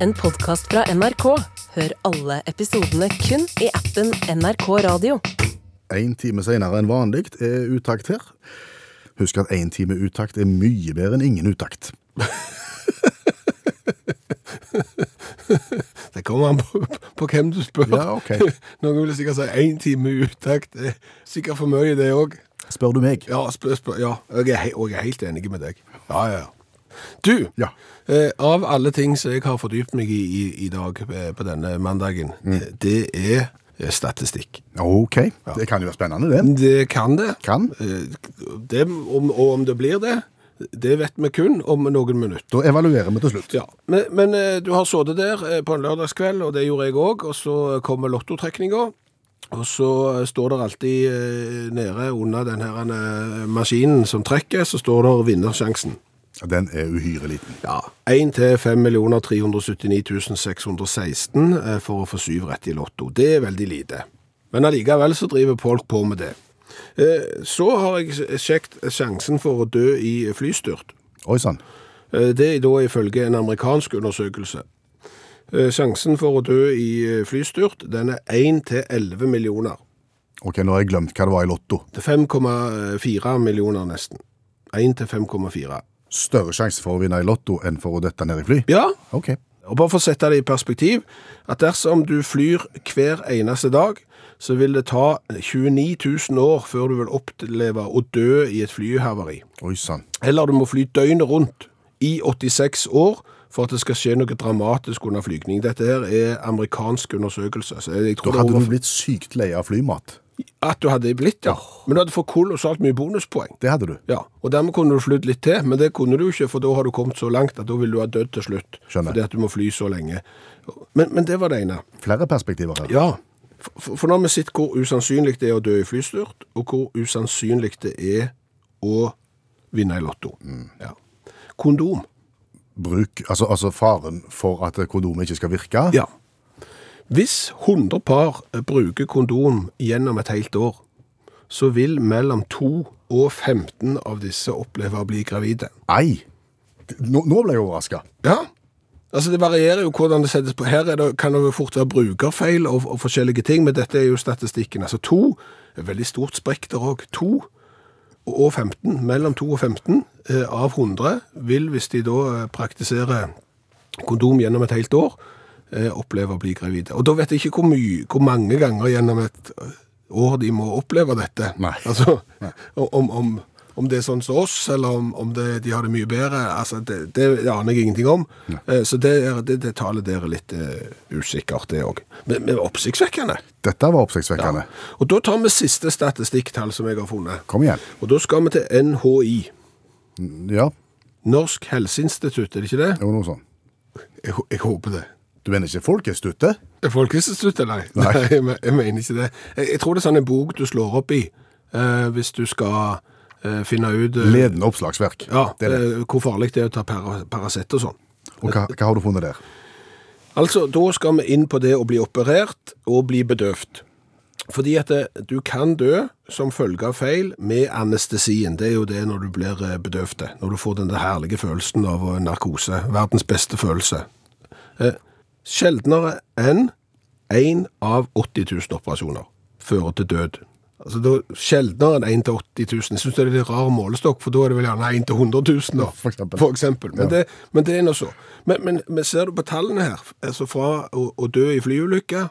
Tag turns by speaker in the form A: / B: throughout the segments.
A: en podkast fra NRK. Hør alle episodene kun i appen NRK Radio.
B: Én time senere enn vanlig er utakt her. Husk at én time utakt er mye bedre enn ingen utakt.
C: Det kommer an på, på hvem du spør.
B: Ja, ok.
C: Noen vil sikkert si én time i utakt. Det er Sikkert for mye, det òg.
B: Spør du meg?
C: Ja, spør, spør, ja. Jeg, er, he- og jeg er helt enig med deg. Ja, ja, ja. Du,
B: Ja.
C: eh, av alle ting som jeg har fordypt meg i i, i dag eh, på denne mandagen,
B: Mm.
C: eh, det er eh, statistikk.
B: Ok, det kan jo være spennende det.
C: Det kan det.
B: Kan.
C: Eh, det om, og om det blir det, det vet vi kun om noen minutter.
B: Da evaluerer vi til slutt.
C: Ja, men, men eh, du har sittet der eh, på en lørdagskveld, og det gjorde jeg òg, og så kommer lottotrekninga. Og så eh, står det alltid eh, nede under den her eh, maskinen som trekker, så står det vinnersjansen.
B: Den er uhyre liten.
C: Ja. 1 til 5 379 616 eh, for å få syv rett i lotto. Det er veldig lite. Men allikevel så driver folk på med det. Eh, Så har jeg sjekket sjansen for å dø i flystyrt.
B: Oi sann.
C: Eh, Det er da ifølge en amerikansk undersøkelse. Eh, Sjansen for å dø i eh, flystyrt den er 1 til 11 millioner.
B: Ok, nå har jeg glemt hva det var i Lotto.
C: Det er 5,4 eh, millioner nesten. 1 til 5,4.
B: Større sjanse for å vinne i Lotto enn for å dette ned i fly?
C: Ja,
B: Ok.
C: og bare for å sette det i perspektiv, at dersom du flyr hver eneste dag, så vil det ta 29 000 år før du vil oppleve å dø i et flyhavari.
B: Oi sann.
C: Eller du må fly døgnet rundt i 86 år for at det skal skje noe dramatisk under flygning. Dette her er amerikansk undersøkelse. Så jeg
B: Da
C: tror det
B: hadde
C: er
B: du
C: over...
B: blitt sykt lei av flymat.
C: At du hadde blitt, ja. Men du hadde fått kolossalt mye bonuspoeng.
B: Det hadde du.
C: Ja, og dermed kunne du flytt litt til, men det kunne du ikke, for da har du kommet så langt at da vil du ha dødd til slutt.
B: Skjønner.
C: Fordi at du må fly så lenge. Men, men det var det ene.
B: Flere perspektiver her.
C: Ja, for, for nå har vi sett hvor usannsynlig det er å dø i flystyrt, og hvor usannsynlig det er å vinne i lotto.
B: Mm.
C: Ja. Kondom.
B: Bruk, altså, altså faren for at kondomet ikke skal virke.
C: Ja. Hvis 100 par bruker kondom gjennom et helt år, så vil mellom 2 og 15 av disse oppleve å bli gravide.
B: Ei! Nå, nå ble jeg overraska.
C: Ja. Altså Det varierer jo hvordan det settes på. Her er det, kan det jo fort være brukerfeil og, og forskjellige ting, men dette er jo statistikken. Altså to er veldig stort sprekk der òg. To og 15, mellom 2 og 15 eh, av 100 vil, hvis de da eh, praktiserer kondom gjennom et helt år, eh, oppleve å bli gravide. Og da vet jeg ikke hvor, mye, hvor mange ganger gjennom et eh, år de må oppleve dette.
B: Nei.
C: Altså, Om, om, om det er sånn som oss, eller om, om det, de har det mye bedre, altså, det, det aner jeg ingenting om. Eh, så det, er- det, det tallet der er litt eh, usikkert, det òg. Men, men oppsiktsvekkende.
B: Dette var oppsiktsvekkende.
C: Og da tar vi siste statistikktall som jeg har funnet.
B: Kom igjen.
C: Og da skal vi til NHI.
B: Ja,
C: Norsk helseinstitutt, er det ikke det?
B: det var noe sånn.
C: Jeg, hå- jeg håper det.
B: Du mener ikke Folkeinstituttet?
C: Er Folkehelseinstituttet, nei.
B: Nei.
C: jeg, me- jeg mener ikke det. Jeg, jeg tror det er sånn en bok du slår opp i eh, hvis du skal eh, finne ut eh,
B: Ledende oppslagsverk.
C: ja,
B: Det er det.
C: eh, hvor farlig det er å ta para, Paracet og sånn.
B: Og hva, hva har du funnet der?
C: Altså, da skal vi inn på det å bli operert og bli bedøvd. Fordi at eh, du kan dø som følge av feil med anestesien. Det er jo det når du blir eh, bedøvd. Når du får den der herlige følelsen av eh, narkose. Verdens beste følelse. Eh, sjeldnere enn én av 80 000 operasjoner fører til død. Altså, da, sjeldnere enn 1 til 80 000. Jeg synes det er litt rar målestokk, for da er det vel gjerne 1 til 100 000 da.
B: For eksempel.
C: For eksempel. Men, det, men det er nå så. Men, men, men ser du på tallene her, altså fra å, å dø i flyulykke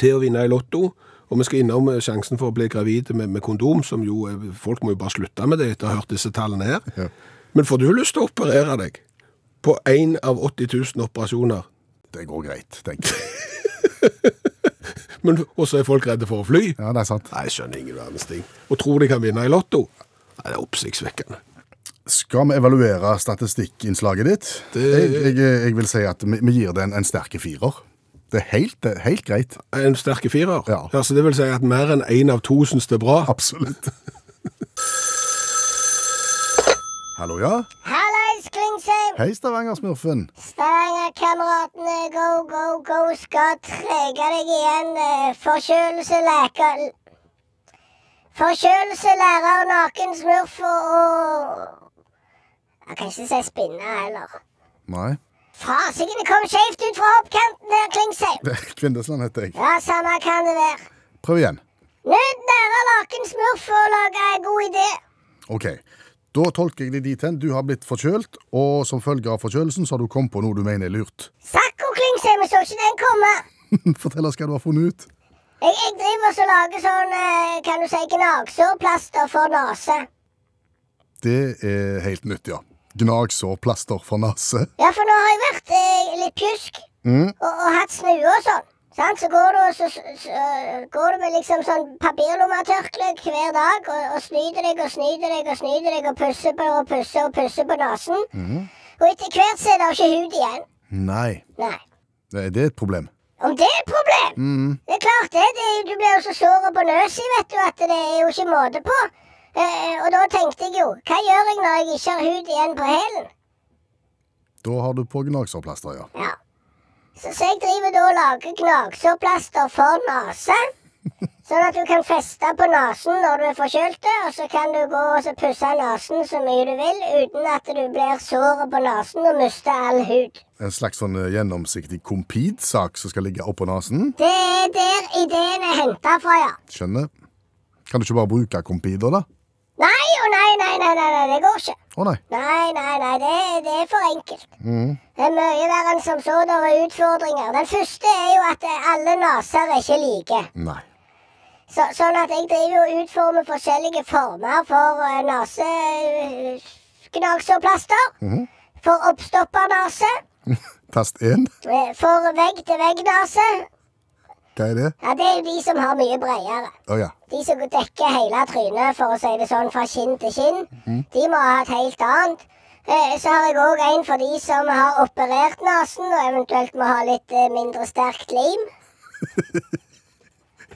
C: til å vinne i lotto, og vi skal innom eh, sjansen for å bli gravid med, med kondom, som jo eh, folk må jo bare slutte med det etter å ha hørt disse tallene her.
B: Ja.
C: Men får du lyst til å operere deg på én av 80 000 operasjoner?
B: Det går greit, tenker jeg.
C: Men, og så er folk redde for å fly?
B: Ja, det er sant.
C: Nei, jeg skjønner ingen verdens ting. Og tror de kan vinne i lotto? Nei, det er oppsiktsvekkende.
B: Skal vi evaluere statistikkinnslaget ditt? Jeg,
C: Det-
B: jeg, jeg vil si at vi, vi gir det en, en sterke firer. Det er helt, det er helt greit.
C: En sterke firer?
B: Ja.
C: så det vil si at mer enn én av to syns det er bra?
B: Absolutt. Hallo, ja?
D: Hallais, Klingsheim!
B: Hei, Stavanger-smurfen.
D: Stavangerkameratene, go, go, go, skal trege deg igjen. eh, Forkjølelse, leker Forkjølelse, lærer, naken smurf og og- Jeg kan ikke si spinne heller.
B: Nei.
D: Fasikene kom skjevt ut fra hoppkanten her, Klingsheim.
B: Kvindesland heter jeg.
D: Ja, samme kan det være.
B: Prøv igjen.
D: Nød nære lakensmurf for å lage en god idé.
B: Ok. Da tolker jeg det dit hen. Du har blitt forkjølt, og som følge av forkjølelsen så har du kommet på noe du mener er lurt.
D: Sakko Klingsheim, jeg så ikke den komme.
B: Fortell oss hva du har funnet ut.
D: Jeg, jeg driver og så lager sånn, eh, kan du si, gnagsårplaster for nase.
B: Det er helt nytt, ja. Gnagsårplaster for nese.
D: Ja, for nå har jeg vært eh, litt pjusk og, og hatt snue og sånn. Sant? Så går du, og så, så, så øh, går du med liksom sånn papirlommetørkle hver dag og, og snyter deg og snyter deg og snyter deg og pusser på og pusser og pusser på nesen. Og etter hvert så er det jo ikke hud igjen.
B: Nei,
D: Nei.
B: det det er et problem.
D: Om det er et problem? Det er klart det. det er, jo- du blir jo så sår på nøsa, vet du, at det er jo ikke måte på. Eh, og da tenkte jeg jo, hva gjør jeg når jeg ikke har hud igjen på hælen?
B: Da har du på gnagsårplaster, ja.
D: Ja. Så, så jeg driver da og lager gnagsårplaster for nese. Sånn at du kan feste på nesen når du er forkjølt, og så kan du gå og så pusse nesen så mye du vil uten at du blir sår på nesen og mister all hud.
B: En slags sånn eh, gjennomsiktig kompidsak som skal ligge oppå nesen.
D: Det er der ideen er henta fra, ja.
B: Skjønner. Kan du ikke bare bruke kompider, da?
D: Nei og nei, nei, nei, nei, nei, det går ikke.
B: Å nei.
D: Nei, nei, nei, det, det er for enkelt. Det er mye verre enn som så. Det er utfordringer. Den første er jo at eh, alle neser er ikke like.
B: Nei.
D: Så, sånn at jeg driver og utformer forskjellige former for eh, uh, nasegnagsorplaster. For oppstoppernase.
B: Tast én.
D: eh, For vegg-til-vegg-nase.
B: Hva er det?
D: Ja, det er jo de som har mye bredere.
B: Å ja.
D: De som dekker hele trynet, for å si det sånn, fra kinn til kinn. De må ha et helt annet. Eh, Så har jeg òg en for de som har operert nesen, og eventuelt må ha litt eh, mindre sterkt lim.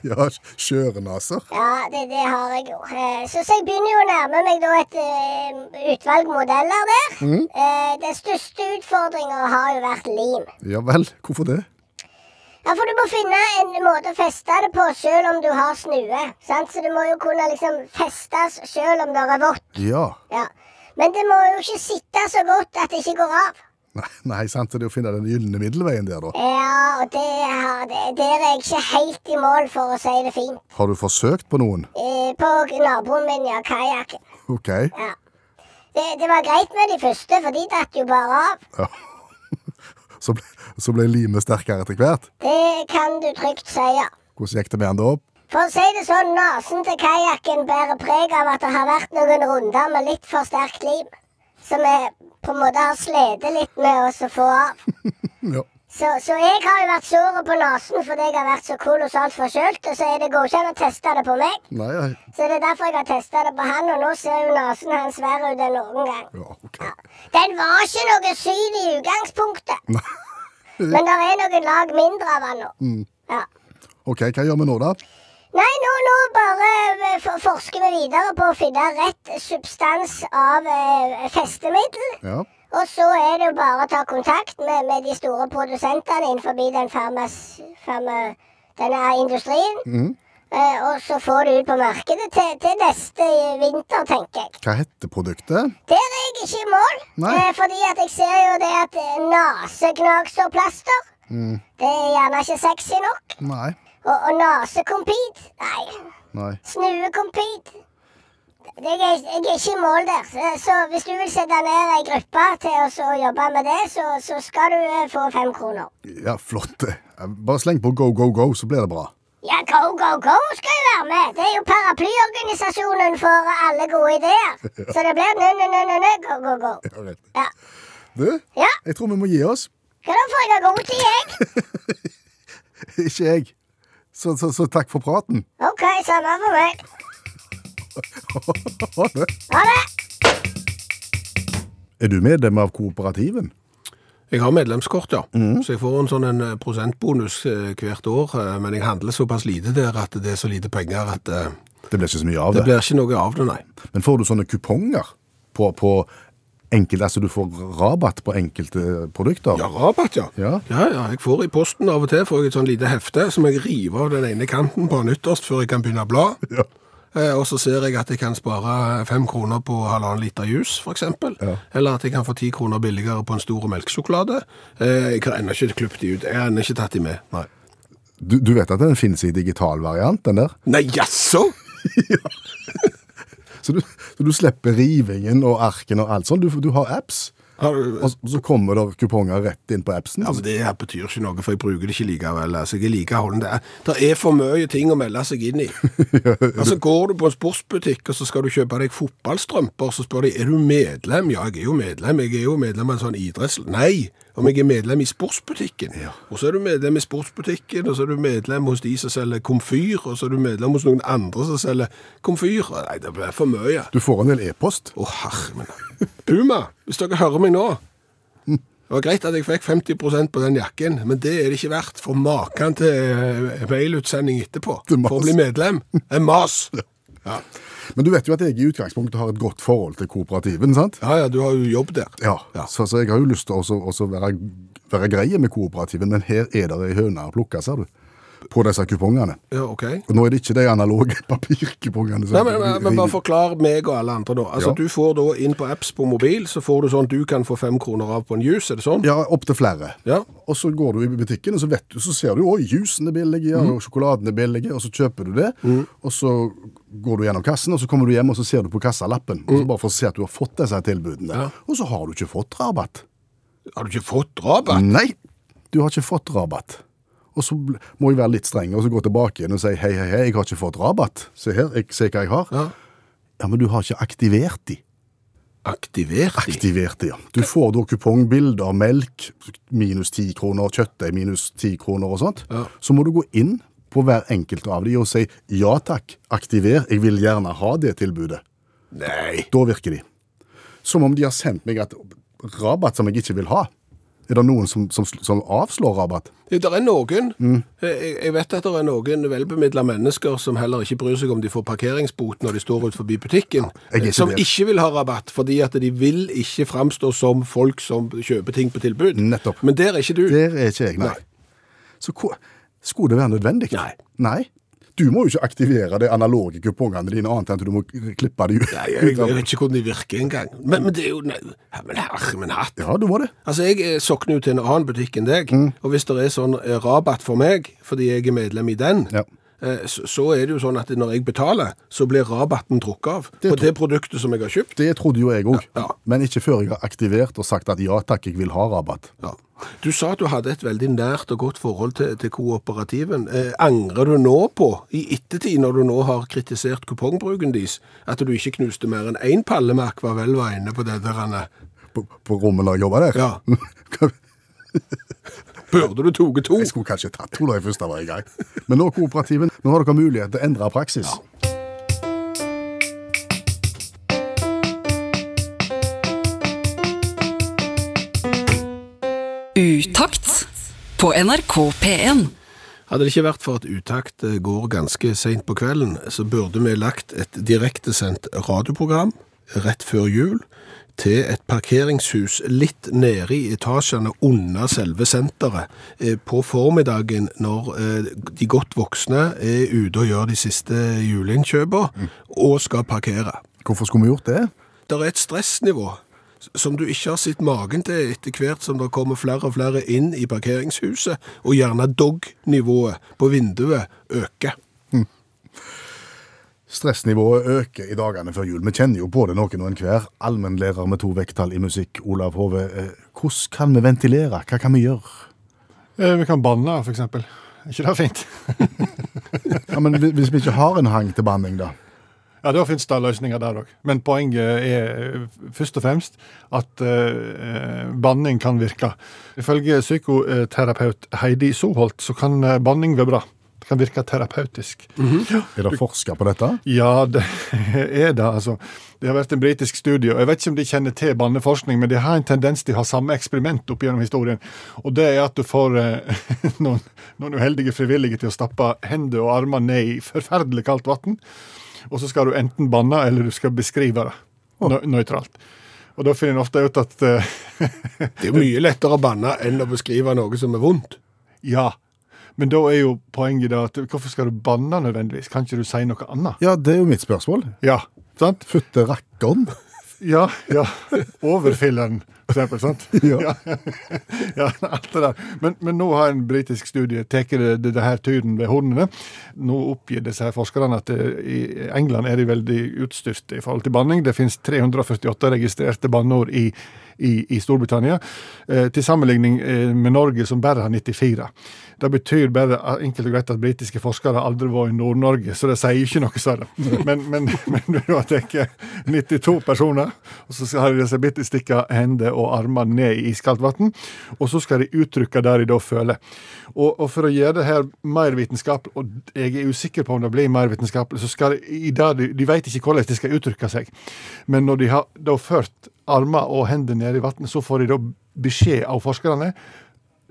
B: Ja, Skjørenaser.
D: Ja, det, det har jeg jo. Eh, Så, så jeg begynner jo å nærme meg da et eh, utvalg modeller der. Eh, Den største utfordringa har jo vært lim.
B: Ja vel. Hvorfor det?
D: Ja, For du må finne en måte å feste det på sjøl om du har snue. Sant? Så det må jo kunne liksom festes sjøl om det er vått.
B: Ja.
D: Ja. Men det må jo ikke sitte så godt at det ikke går av.
B: Nei, nei sant. Det er å finne den gylne middelveien der, da.
D: Ja, og det, har- det, der er jeg ikke helt i mål, for å si det fint.
B: Har du forsøkt på noen?
D: Eh, På naboen min, ja, kajakken.
B: OK.
D: Ja. Det, det var greit med de første, for de datt jo bare av.
B: Ja. Så ble, så ble limet sterkere etter hvert.
D: Det kan du trygt si, ja.
B: Hvordan gikk det med den da?
D: For å si det sånn, nesen til kajakken bærer preg av at det har vært noen runder med litt for sterkt lim. Som jeg på en måte har slitt litt med å så få av.
B: Ja.
D: Så, så jeg har jo vært såret på nesen fordi jeg har vært så kolossalt forkjølt. Og så er det går ikke an å teste det på meg.
B: Nei, nei.
D: Så det er derfor jeg har testa det på han, og nå ser jo nesen hans verre ut enn noen gang.
B: Ja, OK.
D: Den var ikke noe syv i utgangspunktet. Men det er noen lag mindre av den nå. Ja.
B: Ok, Hva gjør vi nå, da?
D: Nei, nå, nå bare eh, for, forsker vi videre på å finne rett substans av eh, festemiddel.
B: Ja.
D: Og så er det jo bare å ta kontakt med, med de store produsentene innenfor den, farmas, farma, denne industrien. Eh, og så får du ut på markedet til, til neste vinter, tenker jeg.
B: Hva heter produktet?
D: Der er jeg ikke i mål,
B: Nei.
D: eh, fordi at jeg ser jo det at eh, nasegnagsorplaster Det er gjerne ikke sexy nok.
B: Nei.
D: Og, og nasekompid Nei,
B: Nei.
D: snuekompid Det- Jeg er, jeg er ikke i mål der. Så- Så hvis du vil sette ned ei gruppe til oss å jobbe med det, så, så skal du eh, få fem kroner.
B: Ja, flott. det. Bare sleng på go, go, go, så blir det bra.
D: Ja, Go Go Go skal jo være med. Det er jo paraplyorganisasjonen for alle gode ideer. Så det blir nø-nø-nø-nø Go Go Go. Ja.
B: Du,
D: ja.
B: jeg tror vi må gi oss.
D: Hva da får jeg ha god tid, jeg?
B: Ikke jeg. Så, så, så takk for praten.
D: Ok, samme for meg.
B: Ha det.
D: Ha det!
B: Er du medlem av kooperativen?
C: Jeg har medlemskort, ja. Så jeg får en sånn en eh, prosentbonus eh, hvert år. eh, Men jeg handler såpass lite der at det er så lite penger at eh,
B: Det blir ikke så mye av
C: det
B: det.
C: blir ikke noe av det, nei.
B: Men får du sånne kuponger på, på enkelte Altså du får rabatt på enkelte produkter?
C: Ja, rabatt, ja.
B: Ja.
C: ja. Jeg får i posten av og til får jeg et sånn lite hefte som jeg river av den ene kanten på den ytterst før jeg kan begynne å bla.
B: Ja.
C: Eh, Og så ser jeg at jeg kan spare fem kroner på halvannen liter jus, f.eks.
B: Ja.
C: Eller at jeg kan få ti kroner billigere på en stor melkesjokolade. Eh, Jeg har ennå ikke klippet de ut. Jeg har ennå ikke tatt de med. Nei.
B: Du, du vet at den finnes i digital variant, den der?
C: Nei, jaså!
B: Så du, så du slipper rivingen og arkene og alt sånt. Du, du har apps,
C: Har du-
B: og så kommer det kuponger rett inn på appsen. Altså,
C: Ja, men Altså, Det her betyr ikke noe, for jeg bruker det ikke likevel. altså jeg er like holden det er. Det er for mye ting å melde seg inn i. Altså Går du på en sportsbutikk og så skal du kjøpe deg fotballstrømper, så spør de er du medlem. Ja, jeg er jo medlem. Jeg er jo medlem av en sånn idretts... Nei, om jeg er medlem i sportsbutikken. Og så er du medlem i sportsbutikken, og så er du medlem hos de som selger komfyr, og så er du medlem hos noen andre som selger komfyr. Nei, det blir for mye.
B: Du får en del e-post.
C: Å, herre min. Puma, hvis dere hører meg nå. Det var greit at jeg fikk 50 på den jakken, men det er det ikke verdt. For maken til eh, mailutsending etterpå.
B: Det er mas.
C: For å bli medlem. En mas. Ja.
B: Men du vet jo at jeg i utgangspunktet har et godt forhold til kooperativen, sant?
C: ja ja, du har jo jobb der.
B: Ja,
C: Ja.
B: Så, så jeg har jo lyst til å også- også være, være greie med kooperativen, men her er det ei høne å plukke, ser du. På disse kupongene.
C: Ja, OK.
B: Og nå er det ikke de analoge papirkupongene. som-
C: Nei, men, men, men bare forklar meg og alle andre, da. Altså,
B: Ja.
C: Du får da inn på apps på mobil, så får du sånn du kan få fem kroner av på en juice, er det sånn?
B: Ja, opptil flere.
C: Ja.
B: Og så går du i butikken, og så, vet du, så ser du jo at jusen er billig, ja,
C: Mhm.
B: og sjokoladen er billig, og så kjøper du det. Og så går du gjennom kassen, og så kommer du hjem og så ser du på kassalappen. Og så bare for å se at du har fått disse tilbudene.
C: Mhm. Ja.
B: Og så har du ikke fått rabatt.
C: Har du ikke fått rabatt?
B: Nei, du har ikke fått rabatt. Og så bl- må jeg være litt streng og så gå tilbake igjen og si hei, hei, hei, jeg har ikke fått rabatt. Se her, jeg, se hva jeg har.
C: Ja.
B: Ja, men du har ikke aktivert de.
C: Aktivert de.
B: Aktivert de, ja. Du får da kupongbilder av melk, minus 10 kroner, kjøttdeig minus 10 kroner og sånt.
C: Ja.
B: Så må du gå inn på hver enkelt av de og si ja takk, aktiver, jeg vil gjerne ha det tilbudet.
C: Nei.
B: Da virker de. Som om de har sendt meg et rabatt som jeg ikke vil ha. Er det noen som, som, som avslår rabatt?
C: Det der er noen.
B: Mm.
C: Eh, Jeg, jeg vet at det er noen velbemidla mennesker som heller ikke bryr seg om de får parkeringsbot når de står ut forbi butikken,
B: jeg er ikke
C: som
B: der.
C: ikke vil ha rabatt fordi at de vil ikke framstå som folk som kjøper ting på tilbud.
B: Nettopp.
C: Men der er ikke du.
B: Der er ikke jeg, nei.
C: Nei.
B: Så hva, skulle det være nødvendig?
C: Nei.
B: Nei. Du må jo ikke aktivere de analoge kupongene dine annet enn at du må klippe de ut.
C: Nei, jeg, jeg vet ikke hvordan de virker engang. Men, men det er jo nei, Men herre min hatt.
B: Ja, du må det.
C: Altså, Jeg eh, sokner jo til en annen butikk enn deg,
B: Mm.
C: og hvis det er sånn eh, rabatt for meg fordi jeg er medlem i den,
B: Ja.
C: eh, så, så er det jo sånn at når jeg betaler, så blir rabatten trukket av
B: Det
C: på
B: tror-
C: det produktet som jeg har kjøpt.
B: Det trodde jo jeg òg,
C: Ja, ja.
B: men ikke før jeg har aktivert og sagt at ja takk, jeg vil ha rabatt.
C: Ja. Du sa at du hadde et veldig nært og godt forhold til, til kooperativen. Eh, angrer du nå på, i ettertid når du nå har kritisert kupongbruken deres, at du ikke knuste mer enn én palle med Akvavel var inne på det der? Anne?
B: På, på rommet når jeg jobba der.
C: Ja.
B: jeg
C: Burde du tatt to?
B: skulle kanskje tatt henne da jeg først var i gang. Men nå, kooperativen, nå har dere mulighet til å endre praksis.
E: Utakt på NRK P1.
C: Hadde det ikke vært for at Utakt eh, går ganske seint på kvelden, så burde vi lagt et direktesendt radioprogram rett før jul til et parkeringshus litt nede i etasjene under selve senteret eh, på formiddagen når eh, de godt voksne er ute og gjør de siste juleinnkjøpene og skal parkere.
B: Hvorfor skulle vi gjort det?
C: Det er et stressnivå s- som du ikke har sett magen til etter hvert som det kommer flere og flere inn i parkeringshuset, og gjerne dog-nivået på vinduet øker.
B: Stressnivået øker i dagene før jul. Vi kjenner jo på det noen og enhver. Allmennlærer med to vekttall i musikk, Olav Hove. eh, Hvordan kan vi ventilere? Hva kan vi gjøre?
F: Eh, Vi kan banne, for eksempel. Er ikke det fint?
B: Ja, men hvis- Hvis vi ikke har en hang til banning, da?
F: Ja, Da finnes det løsninger der òg. Men poenget er eh, først og fremst at eh, eh, banning kan virke. Ifølge psykoterapeut Heidi Soholt så kan eh, banning være bra. Det kan virke terapeutisk.
B: Er det forska på dette?
F: Ja, det er det, altså. Det har vært en britisk studie, og jeg vet ikke om de kjenner til banneforskning, men de har en tendens til å ha samme eksperiment opp gjennom historien, og det er at du får eh, noen, noen uheldige frivillige til å stappe hender og armer ned i forferdelig kaldt vann, og så skal du enten banne, eller du skal beskrive det nø- nøytralt. Og da finner en ofte ut at eh,
C: Det er jo mye lettere å banne enn å beskrive noe som er vondt.
F: ja, Men da er jo poenget da at hvorfor skal du banne nødvendigvis? Kan ikke du si noe annet?
B: Ja, det er jo mitt spørsmål.
F: Ja. Sant?
B: Futte rakkeren.
F: Ja, ja. Overfilleren, for eksempel. Sant?
B: Ja.
F: ja. Ja, alt det der. Men, men nå har en britisk studie tatt det, det, det her tyden ved hornene. Nå oppgir disse her forskerne at eh, i England er de veldig utstyrte i forhold til banning. Det finnes 348 registrerte banneord i, i, i Storbritannia. Eh, til sammenligning eh, med Norge, som bare har 94. Det betyr bare eh, enkelt og greit at britiske forskere aldri var i Nord-Norge, så det sier ikke noe, Sverre. Men, men, men du har tatt 92 personer, og så har de disse bitte stikka hender og armer ned i iskaldt vann, og så skal de uttrykke det de da føler. Og, og for å gjøre det her mer vitenskapelig, og jeg er usikker på om det blir mer vitenskapelig, så skal de, i det de, de vet ikke hvordan de skal uttrykke seg, men når de har da ført armer og hender ned i vannet, så får de da beskjed av forskerne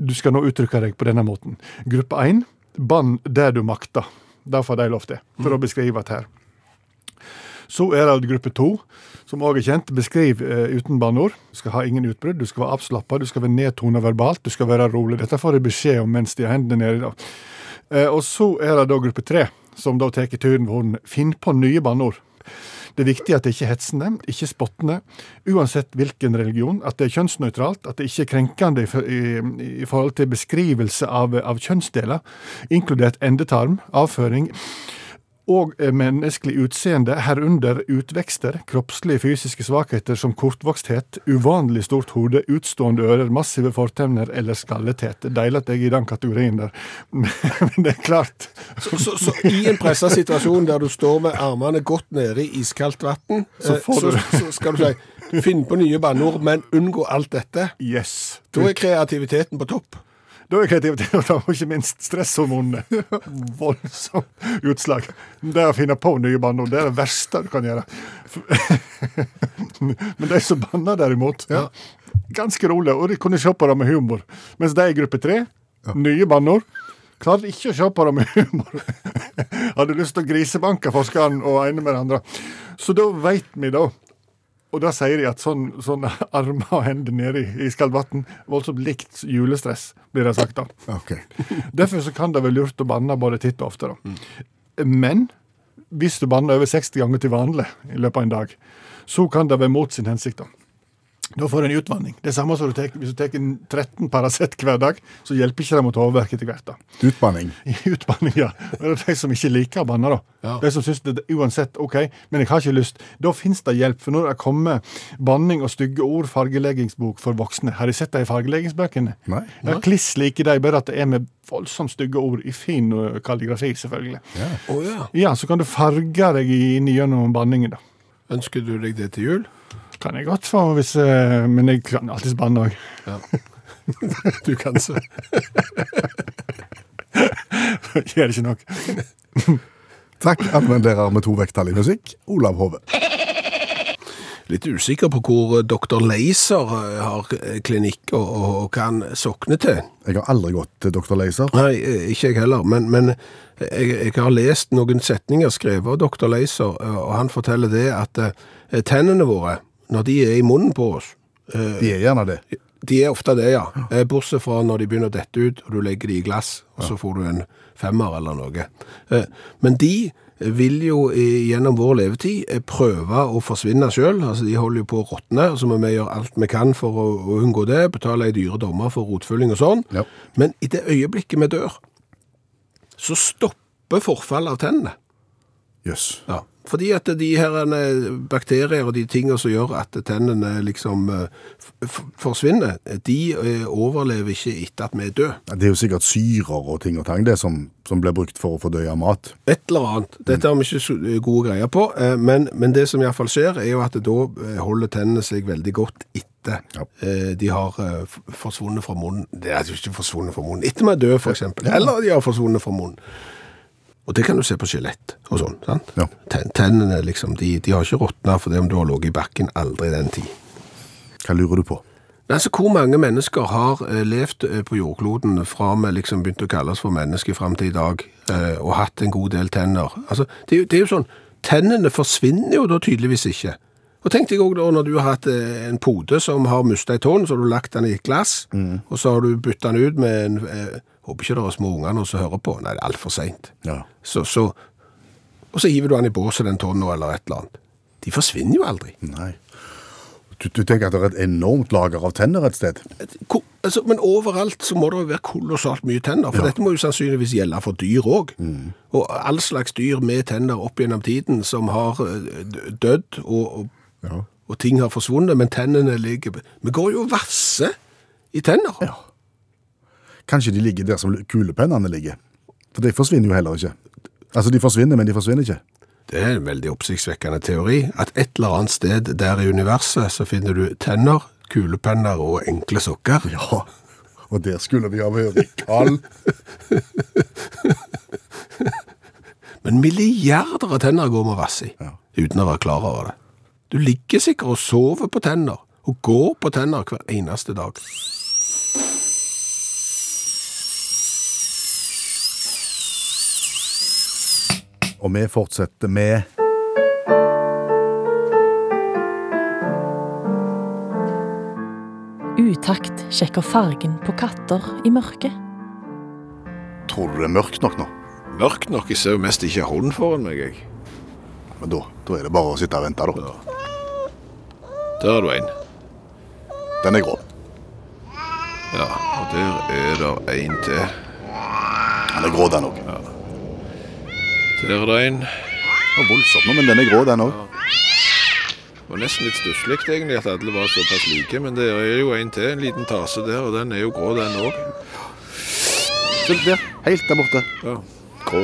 F: du skal nå uttrykke deg på denne måten. Gruppe 1, bann der du makter. Det får de lov til, for å beskrive det her. Så er det gruppe to, som òg er kjent. Beskriv eh, uten banneord. Du skal ha ingen utbrudd, du skal være avslappa, du skal være nedtona verbalt, du skal være rolig. Dette får de beskjed om mens de har hendene nede. Da. Eh, og så er det da gruppe tre, som da tar turen hvor den finner på nye banneord. Det er viktig at det ikke er hetsende, ikke spottende, uansett hvilken religion, at det er kjønnsnøytralt, at det ikke er krenkende i, for- i, i forhold til beskrivelse av, av kjønnsdeler, inkludert endetarm, avføring, og eh, menneskelig utseende, herunder utvekster, kroppslige fysiske svakheter som kortvoksthet, uvanlig stort hode, utstående ører, massive fortenner eller skallethet. Deilig at jeg er i den kategorien der, men det er klart.
C: Så, så, så i en pressa situasjon der du står med armene godt nede i iskaldt vann,
F: Så
C: eh,
F: får du-
C: så, så skal du si finn på nye banneord, men unngå alt dette.
F: Yes.
C: Da er kreativiteten på topp.
F: Da er kreativiteten og ikke minst stresshormonene voldsomt utslag. Det å finne på nye banneord, det er det verste du kan gjøre. Men de som banner derimot, ganske rolig, og de kunne se på det med humor. Mens de i gruppe tre, nye banneord, klarte ikke å se på det med humor. Hadde lyst til å grisebanke forskeren og ene med det andre. Så da veit vi da og da sier de at sånn, sånn armer og hender nede i iskaldt vann Voldsomt likt julestress, blir det sagt da.
B: Ok.
F: Derfor så kan det være lurt å banne både titt og ofte. da. Men hvis du banner over 60 ganger til vanlig i løpet av en dag, så kan det være mot sin hensikt. da. Da får du en utvanning. Det er samme som du tek, hvis du tar 13 Paracet hver dag, så hjelper ikke det mot hodeverk etter hvert. da.
B: Utbanning.
F: I utbanning, ja. Og det er de som ikke liker å banne, da. De som syns det er uansett OK, men jeg har ikke lyst. Da fins det hjelp, for når det kommer banning og stygge ord, fargeleggingsbok for voksne Har de sett det i fargeleggingsbøkene?
B: Nei.
F: Ja, kliss like de, bare at det er med voldsomt stygge ord i fin ø, kalligrafi, selvfølgelig. Ja.
C: Å ja.
F: så kan du farge deg inn gjennom banningen, da.
C: Ønsker du deg det til jul?
F: Kan jeg godt få, hvis, ø, men jeg kan alltids banne òg.
C: Du kan se.
F: Gjør det ikke nok.
B: Takk, anvenderer med to vekttall i musikk, Olav Hove.
C: Litt usikker på hvor eh, doktor Leiser eh, har eh, klinikk og, og, og hva han sokner til.
B: Jeg har aldri gått til Dr. Laser.
C: Nei, eh, ikke jeg heller, men, men eh, jeg, jeg har lest noen setninger skrevet av doktor Leiser, eh, og han forteller det at eh, tennene våre, når de er i munnen på oss, eh,
B: De er gjerne det.
C: de er ofte det, ja. Eh, Bortsett fra når de begynner å dette ut, og du legger de i glass, og så får du en femmer eller noe. Eh, Men de vil jo i- gjennom vår levetid eh, prøve å forsvinne sjøl. Altså, de holder jo på å råtne, så må vi gjøre alt vi kan for å å unngå det. Betale ei dyre dommer for rotfylling og sånn.
B: Ja.
C: Men i det øyeblikket vi dør, så stopper forfallet av tennene.
B: Jøss.
C: Ja, fordi at de her eh, bakterier og de tingene som gjør at tennene liksom eh, f- f- forsvinner, de eh, overlever ikke etter at vi er døde.
B: Ja, Det er jo sikkert syrer og ting og tang det som, som blir brukt for å fordøye mat.
C: Et eller annet. Dette har vi ikke så gode greier på, eh, men, men det som iallfall skjer, er jo at da eh, holder tennene seg veldig godt etter
B: Ja.
C: eh, de har eh, f- forsvunnet fra munnen. Det er jo ikke forsvunnet fra munnen. Etter vi er døde, f.eks. Eller de har forsvunnet fra munnen. Og det kan du se på skjelett og sånn. sant?
B: Ja.
C: Ten- Tennene liksom, de, de har ikke råtna fordi om du har ligget i bakken aldri den tid.
B: Hva lurer du på?
C: Men Altså, Hvor mange mennesker har eh, levd eh, på jordkloden fra vi liksom begynte å kalles for mennesker fram til i dag, eh, og hatt en god del tenner? Altså, det, er jo- det er jo sånn, Tennene forsvinner jo da tydeligvis ikke. Og tenk deg òg når du har hatt eh, en pode som har mista ei tånn, så har du lagt den i et glass, og så har du bytta den ut med en eh, Håper ikke det er små unger nå som hører på. Nei, det er altfor seint.
B: Ja.
C: Så, så, og så hiver du han i båset, den tonna, eller et eller annet. De forsvinner jo aldri.
B: Nei. Du, du tenker at det er et enormt lager av tenner et sted?
C: Ko- Altså, men overalt så må det jo være kolossalt mye tenner, for dette må jo sannsynligvis gjelde for dyr òg.
B: Mm.
C: Og all slags dyr med tenner opp gjennom tiden som har eh, d- dødd, og, og,
B: Ja.
C: og ting har forsvunnet, men tennene ligger Vi går jo og vasser i tenner.
B: Kanskje de ligger der som kulepennene ligger? For de forsvinner jo heller ikke. Altså, de forsvinner, men de forsvinner ikke.
C: Det er en veldig oppsiktsvekkende teori, at et eller annet sted der i universet så finner du tenner, kulepenner og enkle sokker.
B: Ja, og der skulle vi ha vært kald.
C: Men milliarder av tenner går med vass i,
B: Ja.
C: uten å være klar over det. Du ligger sikkert og sover på tenner, og går på tenner hver eneste dag.
B: Og vi fortsetter med
G: Utakt sjekker fargen på katter i mørket.
B: Tror du det er mørkt nok nå?
C: Mørkt nok, jeg ser jo mest ikke hånden foran meg, jeg.
B: Men da, da er det bare å sitte og vente, da.
C: Der er du en.
B: Den er grå.
C: Ja, og der er det en til.
B: Den er grå, den òg.
C: Der er det en.
B: Voldsomt, nå, men den er grå, den òg.
C: Det var nesten litt stusslig egentlig at alle var såpass like, men det er jo en til, en liten tase der, og den er jo grå den òg.
B: Se der, helt der borte.
C: Ja.
B: Grå.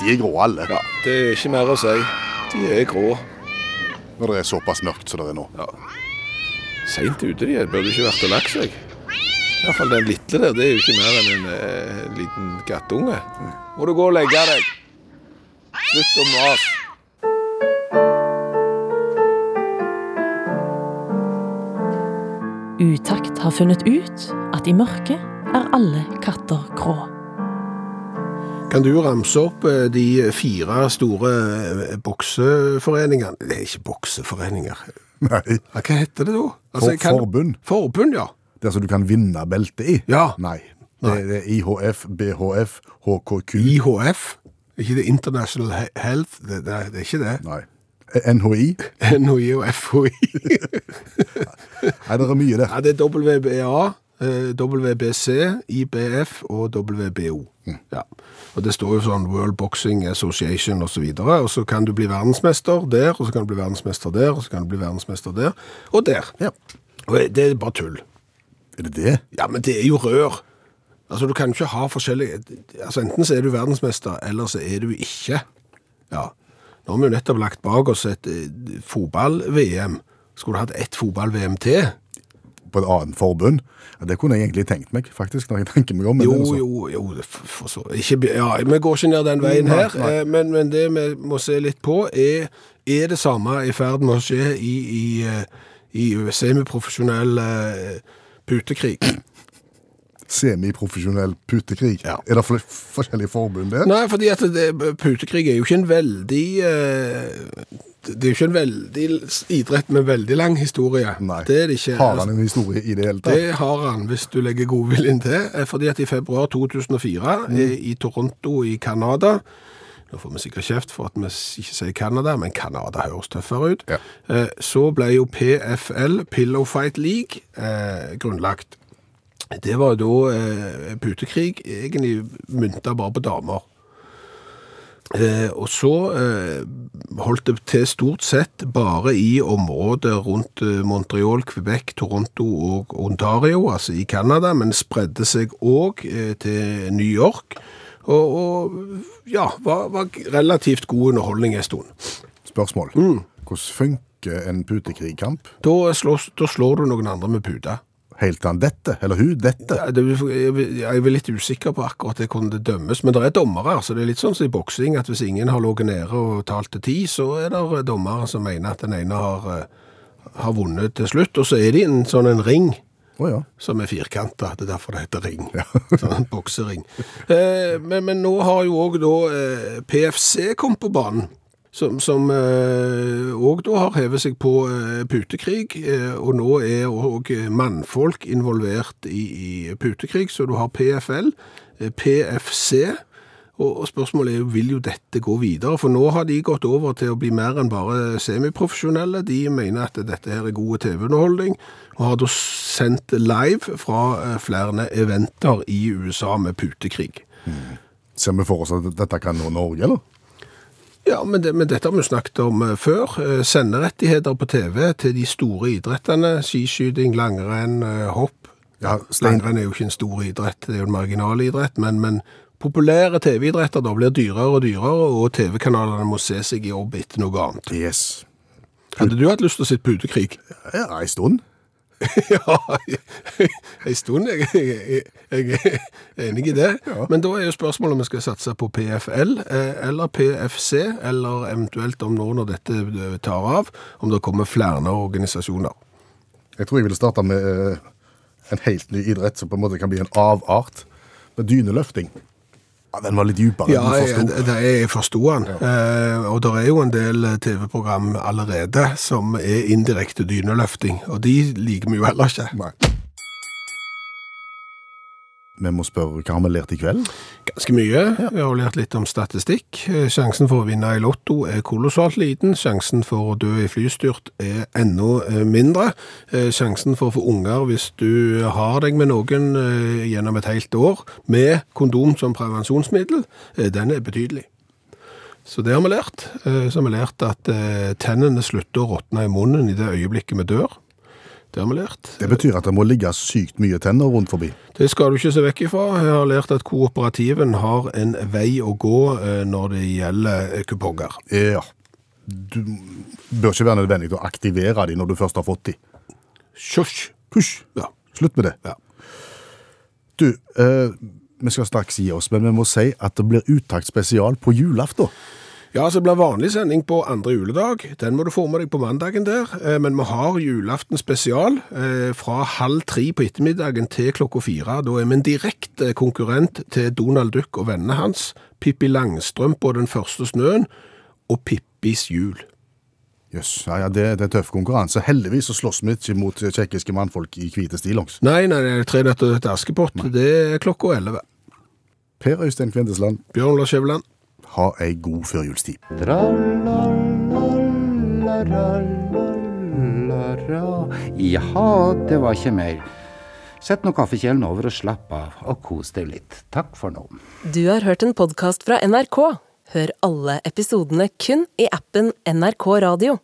B: De er grå, alle.
C: ja, det er ikke mer å si. De er grå.
B: Når det er såpass mørkt som det er nå.
C: Seint ute de er, burde ikke vært og lagt seg. Iallfall den lille der, det er jo ikke mer enn en eh, liten kattunge. Må du gå og legge deg. Slutt å mase.
G: Utakt har funnet ut at i mørket er alle katter grå.
C: Kan du ramse opp eh, de fire store eh, bokseforeningene? Det er ikke bokseforeninger.
B: Nei.
C: Ja, Hva heter det da? Altså,
B: For,
C: jeg kan-
B: Forbund.
C: Forbund, ja.
B: Der som du kan vinne belte i.
C: Ja.
B: Nei. Det, det er IHF, BHF, HKQ.
C: IHF. Ikke det International He- Health, det, det, det er ikke det.
B: Nei. Eh, NHI.
C: NHI og FHI.
B: Nei, det er mye der.
C: Ja, det er WBA, eh, WBC, IBF og WBO. Ja. Og det står jo sånn World Boxing Association og så videre, og så kan du bli verdensmester der, og så kan du bli verdensmester der, og så kan du bli verdensmester der, og der.
B: Ja.
C: Og det er bare tull.
B: Er det det?
C: Ja, men det er jo rør. Altså, du kan jo ikke ha forskjellige... Altså, enten så er du verdensmester, eller så er du ikke. Ja. Nå har vi jo nettopp lagt bak oss et eh, fotball-VM. Skulle du hatt ett fotball-VM til?
B: På et annet forbund? Ja, det kunne jeg egentlig tenkt meg, faktisk, når jeg tenker meg om. men
C: Jo,
B: det er noe sånt.
C: jo, jo, det f- for så ikke, be- Ja, vi går ikke ned den veien her, eh, men, men det vi må se litt på, er, er det samme i ferd med å skje i, i, eh, i semiprofesjonell eh, putekrig?
B: Semiprofesjonell putekrig.
C: Ja.
B: Er det fl- forskjellige forbund der?
C: Nei, fordi at det, putekrig er jo ikke en veldig eh, Det er jo ikke en veldig idrett med veldig lang historie. Det er det ikke.
B: Har han en historie i det hele tatt?
C: Det har han, hvis du legger godviljen til. Eh, Fordi at i februar 2004, i, eh, i Toronto i Canada Nå får vi sikkert kjeft for at vi s- ikke sier Canada, men Canada høres tøffere ut.
B: Ja.
C: Eh, Så ble jo PFL, Pillow Fight League, eh, grunnlagt. Det var jo da eh, putekrig, egentlig mynta bare på damer. Eh, og så eh, holdt det til stort sett bare i området rundt eh, Montreal, Quebec, Toronto og Ontario, altså i Canada, men spredde seg òg eh, til New York. Og, og ja, var, var relativt god underholdning en stund.
B: Spørsmål.
C: Mm.
B: Hvordan funker en putekrigkamp?
C: Da, slås, da slår du noen andre med puta.
B: Helt til han dette, eller hun dette.
C: Ja, det, jeg, vil- jeg er litt usikker på akkurat det hvordan det dømmes, men det er dommere. så Det er litt sånn som i boksing, at hvis ingen har ligget nede og talt til ti, så er det eh, dommere som mener at den ene har, eh, har vunnet til slutt. Og så er det en sånn en ring
B: Å ja.
C: som er firkanta. Det er derfor det heter ring. Sånn en boksering. Eh, men, men nå har jo òg da eh, PFC kommet på banen. som, som eh, også da har hevet seg på eh, putekrig, eh, og nå er også eh, mannfolk involvert i, i putekrig, så du har PFL, eh, PFC, og, og spørsmålet er jo, vil jo dette gå videre? For nå har de gått over til å bli mer enn bare semiprofesjonelle, de mener at dette her er gode TV-underholdning, og har da sendt live fra eh, flere eventer i USA med putekrig.
B: Ser vi for oss at dette kan nå Norge, eller?
C: Ja, men, det, men dette har vi snakket om eh, før. Eh, Senderettigheter på TV til de store idrettene. Skiskyting, langrenn, eh, hopp.
B: Ja, Stein,
C: Langrenn er jo ikke en stor idrett, det er jo en marginal idrett. Men, men populære TV-idretter da blir dyrere og dyrere, og TV-kanalene må se seg i jobb etter noe annet.
B: yes.
C: Hadde du hatt lyst til å sitte putekrig?
B: Ja, en stund.
C: Ja, en stund. Jeg, jeg, jeg er enig i det. Men da er jo spørsmålet om vi skal satse på PFL eh, eller PFC, eller eventuelt om nå når dette eh, tar av, om det kommer flere organisasjoner.
B: Jeg tror jeg ville starte med eh, en helt ny idrett som på en måte kan bli en avart. Med dyneløfting. Ja, den var litt dypere.
C: Ja,
B: den
C: jeg,
B: forsto.
C: det, jeg forsto den. Eh, og det er jo en del eh, TV-program allerede som er indirekte dyneløfting, og de liker vi jo heller ikke.
B: Vi må spørre hva har vi lært i kveld?
C: Ganske mye. Vi har lært litt om statistikk. Eh, Sjansen for å vinne i lotto er kolossalt liten. Sjansen for å dø i flystyrt er enda eh, mindre. Eh, Sjansen for å få unger hvis du har deg med noen eh, gjennom et helt år, med kondom som prevensjonsmiddel, eh, den er betydelig. Så det har vi lært. Eh, Så har vi lært at eh, tennene slutter å råtne i munnen i det øyeblikket vi dør. Det har vi lært.
B: Det betyr at det må ligge sykt mye tenner rundt forbi.
C: Det skal du ikke se vekk ifra. Jeg har lært at kooperativen har en vei å gå eh, når det gjelder eh, kuponger.
B: Ja. Du bør ikke være nødvendig til å aktivere de når du først har fått de.
C: Sjosj!
B: Hysj!
C: Ja.
B: Slutt med det.
C: Ja.
B: Du, eh, vi skal straks gi oss, men vi må si at det blir uttakt spesial på julaften.
C: ja, så det blir vanlig sending på andre juledag. Den må du få med deg på mandagen der. Eh, Men vi har julaften spesial eh, fra halv tre på ettermiddagen til klokka fire. Da er vi en direkte konkurrent til Donald Duck og vennene hans. Pippi Langstrømpe og Den første snøen. Og Pippis jul.
B: Jøss, ja, ja, det, det er tøff konkurranse. Heldigvis så slåss vi ikke mot tsjekkiske mannfolk i hvite stillongs.
C: Nei, nei, nei, Tre nøtter til Askepott. Det er klokka elleve.
B: Per Øystein Kvindesland,
C: Bjørn Lars Skjæveland.
B: ha ei god førjulstid.
H: Tra-la-la-la-la-la. Jaha, det var ikke mer. Sett nå kaffekjelen over og slapp av, og kos deg litt. Takk for nå.
A: Du har hørt en podkast fra NRK. Hør alle episodene kun i appen NRK Radio.